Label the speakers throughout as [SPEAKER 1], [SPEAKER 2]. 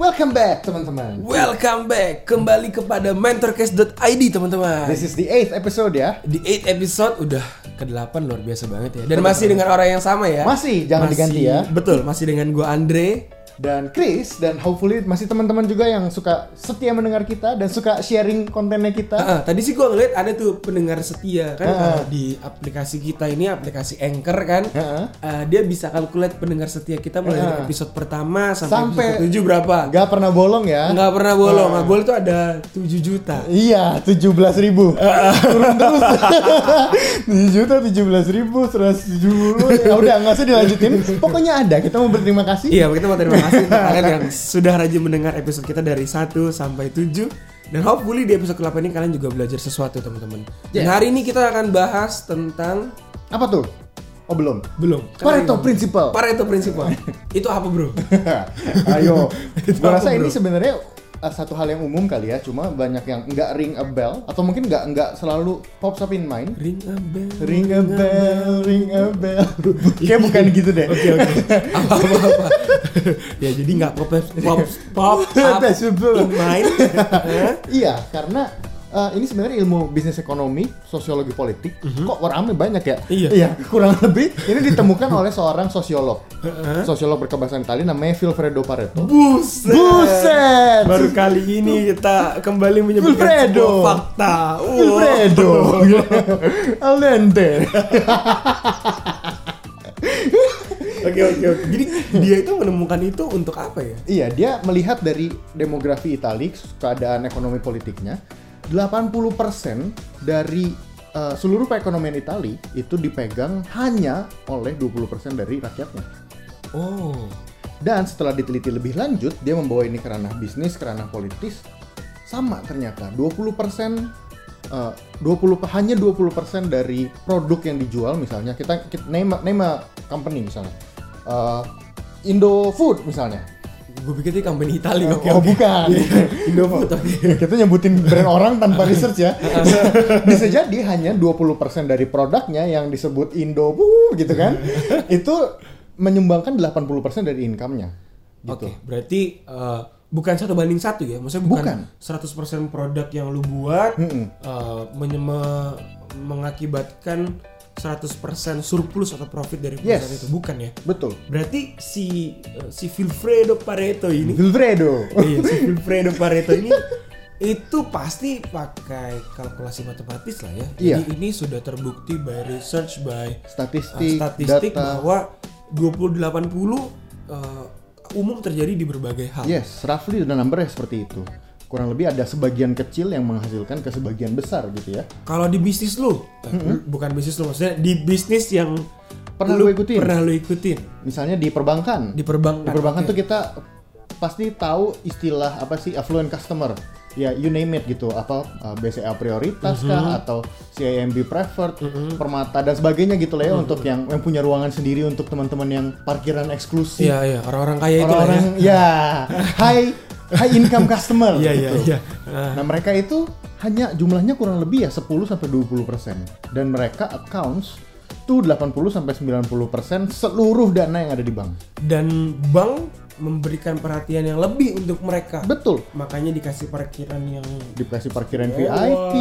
[SPEAKER 1] Welcome back teman-teman.
[SPEAKER 2] Welcome back kembali kepada mentorcast.id teman-teman.
[SPEAKER 1] This is the eighth episode ya.
[SPEAKER 2] Di 8 episode udah ke-8 luar biasa banget ya. Dan masih dengan orang yang sama ya.
[SPEAKER 1] Masih, jangan diganti ya.
[SPEAKER 2] Betul, masih dengan gua Andre.
[SPEAKER 1] Dan Chris dan hopefully masih teman-teman juga yang suka setia mendengar kita dan suka sharing kontennya kita.
[SPEAKER 2] Ah, ah, tadi sih gua ngeliat ada tuh pendengar setia kan
[SPEAKER 1] Ah.
[SPEAKER 2] ah, di aplikasi kita ini aplikasi Anchor kan.
[SPEAKER 1] Heeh.
[SPEAKER 2] Ah, dia bisa calculate pendengar setia kita mulai dari
[SPEAKER 1] Ah.
[SPEAKER 2] episode pertama sampai,
[SPEAKER 1] Sampai-
[SPEAKER 2] episode 7 berapa.
[SPEAKER 1] Gak pernah bolong ya.
[SPEAKER 2] Nggak pernah bolong. Nah, gua tuh ada 7 juta.
[SPEAKER 1] Iya, 17.000 ribu.
[SPEAKER 2] Ah,
[SPEAKER 1] Turun terus. 7 juta 17 ribu, 170. Ya udah, nggak usah dilanjutin. Pokoknya ada, kita mau berterima kasih.
[SPEAKER 2] Iya, kita mau terima kasih untuk kalian yang sudah rajin mendengar episode kita dari 1 sampai 7 dan hopefully di episode ke-8 ini kalian juga belajar sesuatu, teman-teman.
[SPEAKER 1] Yes.
[SPEAKER 2] Dan hari ini kita akan bahas tentang
[SPEAKER 1] Apa tuh? Oh belum.
[SPEAKER 2] belum.
[SPEAKER 1] Pareto
[SPEAKER 2] Karena-
[SPEAKER 1] Principle.
[SPEAKER 2] Pareto prinsipal. Itu apa, Bro?
[SPEAKER 1] Ayo,
[SPEAKER 2] Itu
[SPEAKER 1] gua
[SPEAKER 2] apa,
[SPEAKER 1] rasa
[SPEAKER 2] bro?
[SPEAKER 1] ini sebenarnya uh, satu hal yang umum kali ya, cuma banyak yang nggak ring a bell atau mungkin nggak nggak selalu pops up in mind.
[SPEAKER 2] Ring a bell.
[SPEAKER 1] Ring a bell, ring a bell. Kayak bukan gitu deh.
[SPEAKER 2] Oke, oke. Apa apa apa. ya, jadi nggak pop pop pop up
[SPEAKER 1] Possible.
[SPEAKER 2] in mind. Eh?
[SPEAKER 1] Iya, karena uh, ini sebenarnya ilmu bisnis ekonomi, sosiologi politik. Kok orangnya banyak ya?
[SPEAKER 2] Iya.
[SPEAKER 1] kurang lebih ini ditemukan oleh seorang sosiolog. Sosiolog berkebangsaan Itali namanya Vilfredo Pareto.
[SPEAKER 2] Buset.
[SPEAKER 1] Buset!
[SPEAKER 2] Baru kali ini kita kembali menyebutkan
[SPEAKER 1] Wilfredo.
[SPEAKER 2] sebuah fakta. Wow.
[SPEAKER 1] Wilfredo Al dente
[SPEAKER 2] Oke oke oke. Jadi dia itu menemukan itu untuk apa ya?
[SPEAKER 1] Iya, dia melihat dari demografi Itali, keadaan ekonomi politiknya, 80% dari uh, seluruh perekonomian Itali itu dipegang hanya oleh 20% dari rakyatnya.
[SPEAKER 2] Oh.
[SPEAKER 1] Dan setelah diteliti lebih lanjut, dia membawa ini ke ranah bisnis, ke ranah politis. Sama ternyata, 20% uh, 20 hanya 20% dari produk yang dijual misalnya kita, kita name a- name a company misalnya. Uh, Indo Food misalnya.
[SPEAKER 2] Gue pikir itu company Itali oke
[SPEAKER 1] oh,
[SPEAKER 2] oke.
[SPEAKER 1] bukan.
[SPEAKER 2] Indofood oke.
[SPEAKER 1] Kita nyebutin brand orang tanpa research ya. Bisa jadi hanya 20% dari produknya yang disebut Indo Food gitu kan. Itu menyumbangkan 80% dari income-nya. Gitu.
[SPEAKER 2] Oke, berarti eh, bukan satu banding satu ya. Maksudnya bukan, 100% produk yang lu buat
[SPEAKER 1] Mm-mm.
[SPEAKER 2] eh, menye- me- mengakibatkan 100% surplus atau profit dari perusahaan
[SPEAKER 1] Yes.
[SPEAKER 2] itu bukan ya.
[SPEAKER 1] Betul.
[SPEAKER 2] Berarti si eh, si Wilfredo Pareto ini
[SPEAKER 1] Wilfredo.
[SPEAKER 2] iya, si Wilfredo Pareto ini itu pasti pakai kalkulasi matematis lah
[SPEAKER 1] Iya.
[SPEAKER 2] ya. Jadi ini sudah terbukti by research by uh,
[SPEAKER 1] Statistik,
[SPEAKER 2] statistik
[SPEAKER 1] data.
[SPEAKER 2] bahwa 2080 uh, umum terjadi di berbagai hal.
[SPEAKER 1] Yes, roughly the number ya seperti itu. Kurang lebih ada sebagian kecil yang menghasilkan ke sebagian besar gitu ya.
[SPEAKER 2] Kalau di bisnis lu, eh, bukan bisnis lu maksudnya di bisnis yang
[SPEAKER 1] Pernah
[SPEAKER 2] lu
[SPEAKER 1] lu ikutin?
[SPEAKER 2] Pernah lu ikutin
[SPEAKER 1] Misalnya di perbankan.
[SPEAKER 2] di perbankan.
[SPEAKER 1] Di perbankan tuh kita pasti tahu istilah apa sih affluent customer. Ya, you name it gitu. Apa uh, BCA prioritas kah
[SPEAKER 2] Mhm.
[SPEAKER 1] atau CIMB preferred, permata dan sebagainya gitu lah ya
[SPEAKER 2] Mhm.
[SPEAKER 1] untuk yang yang punya ruangan sendiri untuk teman-teman yang parkiran eksklusif.
[SPEAKER 2] Iya, iya, orang-orang kaya itu lah ya.
[SPEAKER 1] Orang-orang ya high high income customer.
[SPEAKER 2] Iya, iya,
[SPEAKER 1] gitu.
[SPEAKER 2] iya. Ah,
[SPEAKER 1] Nah, mereka itu hanya jumlahnya kurang lebih ya 10 sampai 20% dan mereka accounts tuh 80 sampai 90% seluruh dana yang ada di bank.
[SPEAKER 2] Dan bank memberikan perhatian yang lebih untuk mereka.
[SPEAKER 1] Betul.
[SPEAKER 2] Makanya dikasih parkiran yang
[SPEAKER 1] dikasih parkiran
[SPEAKER 2] Oh, Wah.
[SPEAKER 1] VIP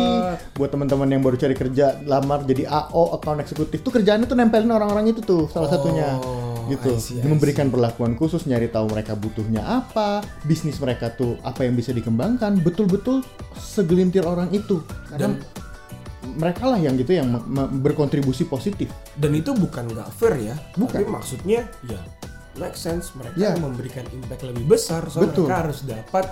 [SPEAKER 1] buat teman-teman yang baru cari kerja lamar jadi AO account eksekutif tuh kerjaannya tuh nempelin orang-orang itu tuh salah
[SPEAKER 2] Oh,
[SPEAKER 1] satunya gitu
[SPEAKER 2] I see, I see.
[SPEAKER 1] memberikan perlakuan khusus nyari tahu mereka butuhnya apa bisnis mereka tuh apa yang bisa dikembangkan betul-betul segelintir orang itu karena
[SPEAKER 2] Dan-
[SPEAKER 1] mereka lah yang gitu yang me- me- berkontribusi positif
[SPEAKER 2] dan itu bukan nggak fair ya
[SPEAKER 1] Bukan.
[SPEAKER 2] tapi maksudnya ya make sense mereka
[SPEAKER 1] Ya.
[SPEAKER 2] memberikan impact lebih besar so
[SPEAKER 1] Betul.
[SPEAKER 2] mereka harus dapat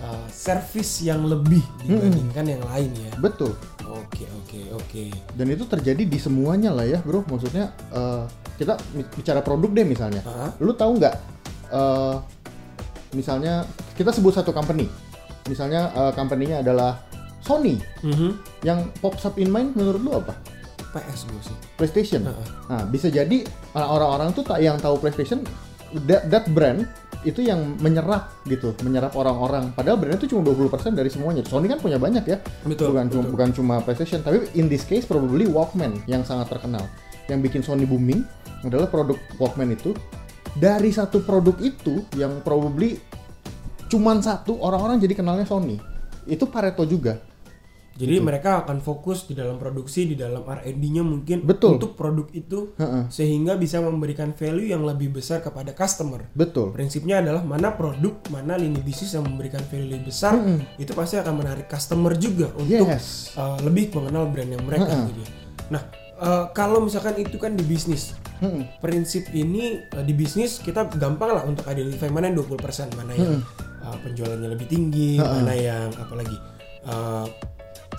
[SPEAKER 2] uh, service yang lebih dibandingkan yang lain ya
[SPEAKER 1] betul
[SPEAKER 2] oke oke oke
[SPEAKER 1] dan itu terjadi di semuanya lah ya bro maksudnya eh, kita mi- bicara produk deh misalnya
[SPEAKER 2] Hah?
[SPEAKER 1] lu tahu nggak eh, misalnya kita sebut satu company misalnya eh, company-nya adalah Sony
[SPEAKER 2] Mhm.
[SPEAKER 1] yang pops up in mind menurut lu apa
[SPEAKER 2] PS gue sih
[SPEAKER 1] PlayStation
[SPEAKER 2] Heeh.
[SPEAKER 1] nah bisa jadi orang-orang tuh tak yang tahu PlayStation that, that brand itu yang menyerap gitu menyerap orang-orang padahal brandnya itu cuma 20% dari semuanya Sony kan punya banyak ya
[SPEAKER 2] Betul,
[SPEAKER 1] bukan cuma
[SPEAKER 2] betul.
[SPEAKER 1] bukan cuma PlayStation tapi in this case probably Walkman yang sangat terkenal yang bikin Sony booming adalah produk Walkman itu dari satu produk itu yang probably cuman satu orang-orang jadi kenalnya Sony itu Pareto juga
[SPEAKER 2] Jadi mereka akan fokus di dalam produksi, di dalam R&D-nya mungkin
[SPEAKER 1] Betul.
[SPEAKER 2] untuk produk itu
[SPEAKER 1] Heeh.
[SPEAKER 2] sehingga bisa memberikan value yang lebih besar kepada customer.
[SPEAKER 1] betul
[SPEAKER 2] Prinsipnya adalah mana produk, mana lini bisnis yang memberikan value lebih besar, itu pasti akan menarik customer juga untuk
[SPEAKER 1] yes
[SPEAKER 2] uh, lebih mengenal brandnya mereka gitu ya. Nah, uh, kalau misalkan itu kan di bisnis,
[SPEAKER 1] Mm-mm.
[SPEAKER 2] prinsip ini uh, di bisnis kita gampang lah untuk identify mana yang 20% mana yang uh, penjualannya lebih tinggi mana yang apalagi uh,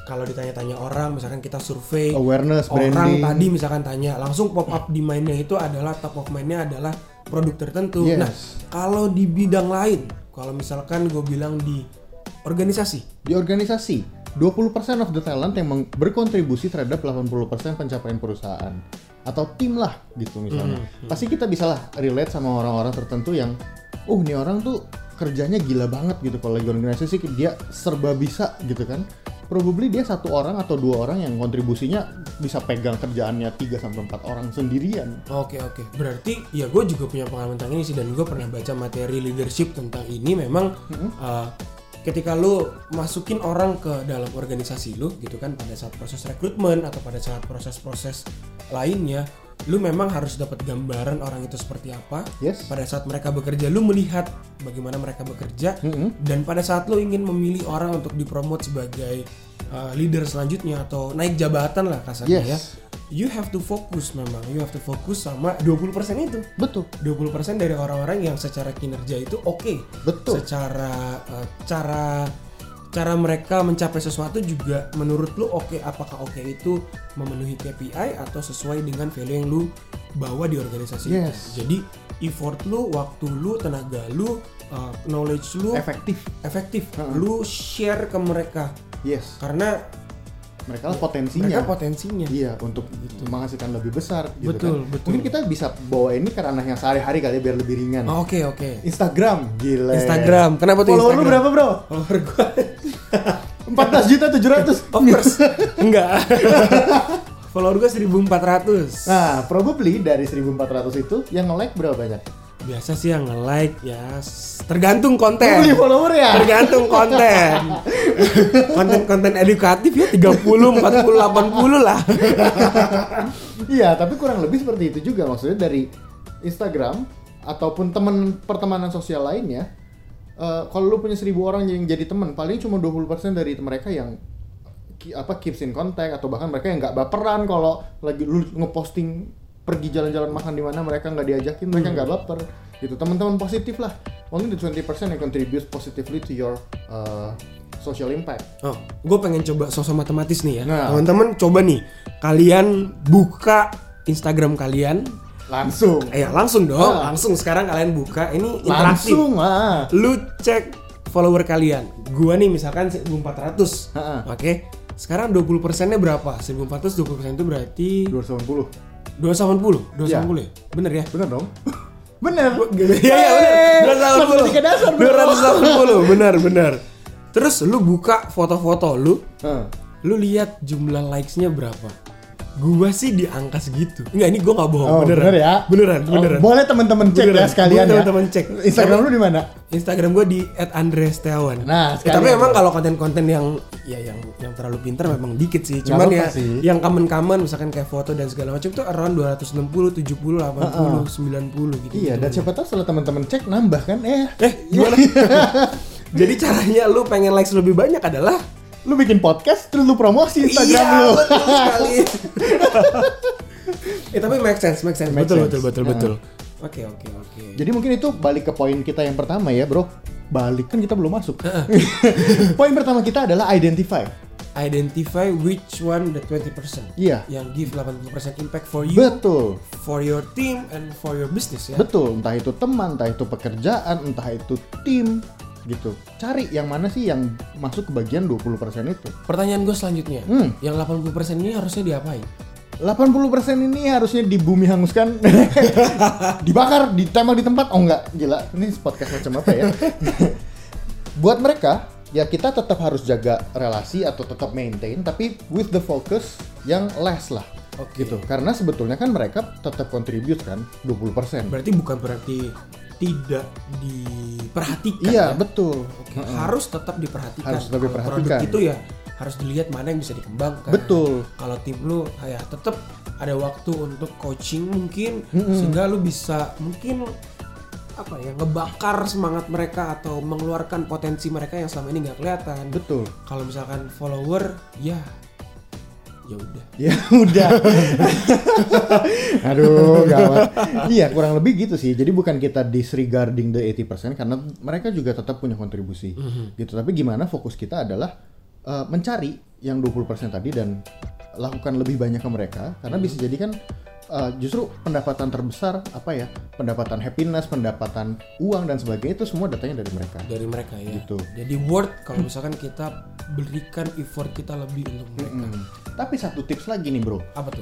[SPEAKER 2] kalau ditanya-tanya orang misalkan kita survei
[SPEAKER 1] awareness
[SPEAKER 2] orang
[SPEAKER 1] branding
[SPEAKER 2] tadi misalkan tanya langsung pop up di mainnya itu adalah top of mind-nya adalah produk tertentu
[SPEAKER 1] Yes.
[SPEAKER 2] nah kalau di bidang lain kalau misalkan gue bilang di organisasi
[SPEAKER 1] di organisasi 20% of the talent yang meng- berkontribusi terhadap 80% pencapaian perusahaan atau tim lah gitu misalnya pasti kita bisa lah relate sama orang-orang tertentu yang oh ini orang tuh kerjanya gila banget gitu kalau lagi organisasi dia serba bisa gitu kan probably dia satu orang atau dua orang yang kontribusinya bisa pegang kerjaannya 3 sampai 4 orang sendirian
[SPEAKER 2] Oke oke, berarti ya gue juga punya pengalaman tentang ini sih dan gue pernah baca materi leadership tentang ini memang uh, ketika lu masukin orang ke dalam organisasi lu gitu kan pada saat proses rekrutmen atau pada saat proses-proses lainnya, lu memang harus dapat gambaran orang itu seperti apa.
[SPEAKER 1] yes
[SPEAKER 2] Pada saat mereka bekerja, lu melihat bagaimana mereka bekerja
[SPEAKER 1] Mm-mm.
[SPEAKER 2] dan pada saat lo ingin memilih orang untuk dipromot sebagai uh, leader selanjutnya atau naik jabatan lah kasarnya
[SPEAKER 1] Yes.
[SPEAKER 2] ya you have to fokus memang you have to fokus sama 20% itu
[SPEAKER 1] betul
[SPEAKER 2] 20% dari orang-orang yang secara kinerja itu oke
[SPEAKER 1] betul
[SPEAKER 2] secara uh, cara cara mereka mencapai sesuatu juga menurut lu oke apakah oke itu memenuhi KPI atau sesuai dengan value yang lu bawa di organisasi itu.
[SPEAKER 1] Yes.
[SPEAKER 2] jadi effort lu waktu lu tenaga lu uh, knowledge lu
[SPEAKER 1] efektif
[SPEAKER 2] efektif lu share ke mereka
[SPEAKER 1] yes
[SPEAKER 2] karena
[SPEAKER 1] mereka lah potensinya
[SPEAKER 2] mereka potensinya
[SPEAKER 1] Iya, untuk menghasilkan lebih besar gitu
[SPEAKER 2] Betul,
[SPEAKER 1] kan.
[SPEAKER 2] betul.
[SPEAKER 1] Mungkin kita bisa bawa ini ke ranah yang sehari-hari kali ya, biar lebih ringan.
[SPEAKER 2] Oh, oke oke
[SPEAKER 1] Instagram, gila.
[SPEAKER 2] Instagram kenapa tuh
[SPEAKER 1] Follower lu
[SPEAKER 2] Instagram?
[SPEAKER 1] berapa, Bro?
[SPEAKER 2] follower
[SPEAKER 1] 14
[SPEAKER 2] gua
[SPEAKER 1] juta 700.
[SPEAKER 2] of course enggak follower gua 1400
[SPEAKER 1] Nah, probably dari 1400 itu yang nge-like berapa banyak?
[SPEAKER 2] biasa sih yang nge-like ya s- tergantung konten
[SPEAKER 1] Beli follower ya?
[SPEAKER 2] tergantung konten konten-konten edukatif ya 30, 40, 80 lah
[SPEAKER 1] Iya, tapi kurang lebih seperti itu juga maksudnya dari Instagram ataupun teman pertemanan sosial lainnya. eh, kalau lu punya 1000 orang yang jadi teman, paling cuma 20% dari mereka yang ki- apa keeps in contact atau bahkan mereka yang nggak baperan kalau lagi lu ngeposting pergi jalan-jalan makan di mana mereka nggak diajakin, mereka nggak baper. Gitu. Teman-teman positif lah. Only the 20% yang contribute positively to your uh, social impact.
[SPEAKER 2] oh, gue pengen coba sosok matematis nih ya
[SPEAKER 1] Nah.
[SPEAKER 2] teman-teman coba nih kalian buka Instagram kalian
[SPEAKER 1] Langsung.
[SPEAKER 2] eh ya langsung dong
[SPEAKER 1] Ah.
[SPEAKER 2] langsung sekarang kalian buka ini interaktif
[SPEAKER 1] Langsung ah. lah.
[SPEAKER 2] lu cek follower kalian gua nih misalkan 1400
[SPEAKER 1] Ha-ha.
[SPEAKER 2] oke sekarang 20 persennya berapa 1400 20 persen itu berarti
[SPEAKER 1] 280.
[SPEAKER 2] 280 280
[SPEAKER 1] Iya.
[SPEAKER 2] ya bener ya
[SPEAKER 1] Bener dong? Bener.
[SPEAKER 2] Iya iya bener.
[SPEAKER 1] Matematika Eh, dasar, bro.
[SPEAKER 2] 280. 280 bener bener. Terus lu buka foto-foto lu,
[SPEAKER 1] Heeh.
[SPEAKER 2] lu lihat jumlah likes-nya berapa? Gua sih di angka segitu. Enggak, ini gua nggak bohong,
[SPEAKER 1] Oh,
[SPEAKER 2] beneran.
[SPEAKER 1] bener ya?
[SPEAKER 2] Beneran,
[SPEAKER 1] Oh,
[SPEAKER 2] beneran.
[SPEAKER 1] boleh teman-teman cek
[SPEAKER 2] Beneran.
[SPEAKER 1] ya sekalian
[SPEAKER 2] Boleh
[SPEAKER 1] ya.
[SPEAKER 2] teman-teman cek.
[SPEAKER 1] Instagram lu di mana?
[SPEAKER 2] Instagram gua di @andresteawan.
[SPEAKER 1] Nah,
[SPEAKER 2] Eh,
[SPEAKER 1] sekalian.
[SPEAKER 2] tapi emang kalau konten-konten yang ya yang yang terlalu pintar memang dikit sih.
[SPEAKER 1] Nggak
[SPEAKER 2] Cuman
[SPEAKER 1] apa-apa
[SPEAKER 2] ya
[SPEAKER 1] sih.
[SPEAKER 2] yang common-common misalkan kayak foto dan segala macam tuh around 260, 70, 80, 90 gitu.
[SPEAKER 1] Iya, dan siapa tahu setelah teman-teman cek nambah kan eh.
[SPEAKER 2] Eh, gimana? Jadi caranya lu pengen likes lebih banyak adalah
[SPEAKER 1] Lu bikin podcast terus lu promosi Instagram
[SPEAKER 2] Iya,
[SPEAKER 1] lu.
[SPEAKER 2] betul sekali. eh, tapi make sense, make sense.
[SPEAKER 1] Make
[SPEAKER 2] betul,
[SPEAKER 1] sense.
[SPEAKER 2] betul, betul,
[SPEAKER 1] Nah.
[SPEAKER 2] betul. Oke, oke, oke.
[SPEAKER 1] Jadi mungkin itu balik ke poin kita yang pertama ya, Bro. Balik kan kita belum masuk. poin pertama kita adalah identify.
[SPEAKER 2] Identify which one the 20%
[SPEAKER 1] Iya.
[SPEAKER 2] yang give 80% impact for you,
[SPEAKER 1] Betul.
[SPEAKER 2] for your team and for your business ya.
[SPEAKER 1] Betul, entah itu teman, entah itu pekerjaan, entah itu tim gitu. Cari yang mana sih yang masuk ke bagian 20% itu.
[SPEAKER 2] Pertanyaan gue selanjutnya,
[SPEAKER 1] Hmm.
[SPEAKER 2] yang 80% ini harusnya diapain?
[SPEAKER 1] 80% ini harusnya di bumi hanguskan dibakar ditembak di tempat oh enggak gila ini podcast macam apa ya buat mereka ya kita tetap harus jaga relasi atau tetap maintain tapi with the focus yang less lah
[SPEAKER 2] Oke.
[SPEAKER 1] gitu karena sebetulnya kan mereka tetap contribute kan 20%
[SPEAKER 2] Berarti bukan berarti tidak diperhatikan
[SPEAKER 1] Iya,
[SPEAKER 2] ya.
[SPEAKER 1] betul.
[SPEAKER 2] Oke, harus tetap diperhatikan.
[SPEAKER 1] Harus tetap
[SPEAKER 2] Kalau
[SPEAKER 1] diperhatikan.
[SPEAKER 2] Produk itu ya harus dilihat mana yang bisa dikembangkan.
[SPEAKER 1] Betul.
[SPEAKER 2] Kalau tim lu ya tetap ada waktu untuk coaching mungkin sehingga lu bisa mungkin apa ya ngebakar semangat mereka atau mengeluarkan potensi mereka yang selama ini nggak kelihatan.
[SPEAKER 1] Betul.
[SPEAKER 2] Kalau misalkan follower ya ya udah.
[SPEAKER 1] Ya udah. Aduh, gawat. Iya, kurang lebih gitu sih. Jadi bukan kita disregarding the 80% karena mereka juga tetap punya kontribusi. Gitu. Tapi gimana fokus kita adalah eh, mencari yang 20% tadi dan lakukan lebih banyak ke mereka karena bisa jadi kan eh, justru pendapatan terbesar apa ya? Pendapatan happiness, pendapatan uang dan sebagainya itu semua datangnya dari mereka.
[SPEAKER 2] dari mereka ya.
[SPEAKER 1] Gitu.
[SPEAKER 2] Jadi worth kalau misalkan kita berikan effort kita lebih untuk mereka.
[SPEAKER 1] Hmm. Tapi satu tips lagi nih, Bro.
[SPEAKER 2] Apa tuh?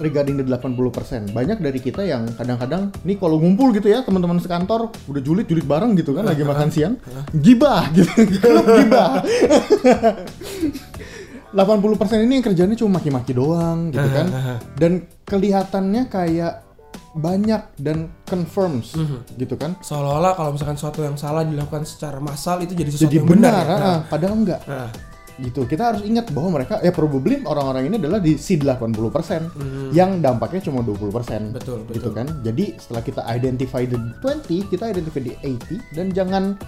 [SPEAKER 1] regarding the 80%. Banyak dari kita yang kadang-kadang nih kalau ngumpul gitu ya teman-teman sekantor udah julid-julid bareng gitu kan lagi makan siang. Gibah gitu. Klub gibah. 80% ini yang kerjanya cuma maki-maki doang gitu kan. Dan kelihatannya kayak banyak dan confirms
[SPEAKER 2] Mhm.
[SPEAKER 1] gitu kan.
[SPEAKER 2] Seolah-olah kalau misalkan suatu yang salah dilakukan secara massal itu jadi sesuatu
[SPEAKER 1] Jadi
[SPEAKER 2] yang
[SPEAKER 1] benar,
[SPEAKER 2] benar. ya?
[SPEAKER 1] ah, padahal enggak.
[SPEAKER 2] Nah, nah,
[SPEAKER 1] gitu kita harus ingat bahwa mereka ya probably orang-orang ini adalah di seed 80% yang dampaknya cuma 20%
[SPEAKER 2] Hmm. Betul, betul.
[SPEAKER 1] gitu kan jadi setelah kita identify the 20 kita identify the 80 dan jangan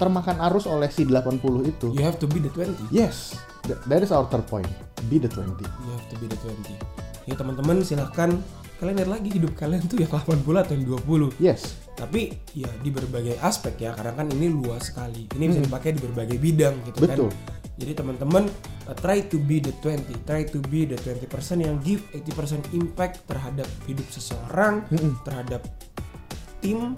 [SPEAKER 1] termakan arus oleh seed 80 itu
[SPEAKER 2] you have to be the 20.
[SPEAKER 1] yes th- that is our third point be the 20
[SPEAKER 2] You have to be the 20. Ya teman-teman silahkan kalian lihat lagi hidup kalian tuh yang 80 atau yang 20.
[SPEAKER 1] yes
[SPEAKER 2] Tapi ya di berbagai aspek ya karena kan ini luas sekali. Ini bisa dipakai di berbagai bidang gitu
[SPEAKER 1] Hmm. Betul.
[SPEAKER 2] kan. Jadi teman-teman uh, try to be the 20, try to be the 20% yang give 80% impact terhadap hidup seseorang,
[SPEAKER 1] Hmm.
[SPEAKER 2] terhadap tim,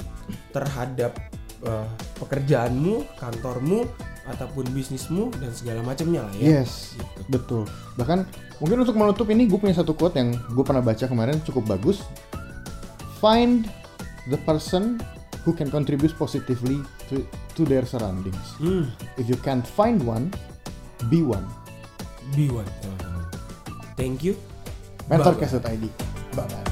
[SPEAKER 2] terhadap uh, pekerjaanmu, kantormu ataupun bisnismu dan segala macamnya lah ya.
[SPEAKER 1] Yes, betul. Bahkan mungkin untuk menutup ini gue punya satu quote yang gue pernah baca kemarin cukup bagus. Find the person who can contribute positively to, to their surroundings.
[SPEAKER 2] Hmm,
[SPEAKER 1] If you can't find one, be one.
[SPEAKER 2] be one teman-teman. Thank you.
[SPEAKER 1] Hmm. Mentor
[SPEAKER 2] Bye-bye.
[SPEAKER 1] Bye bye.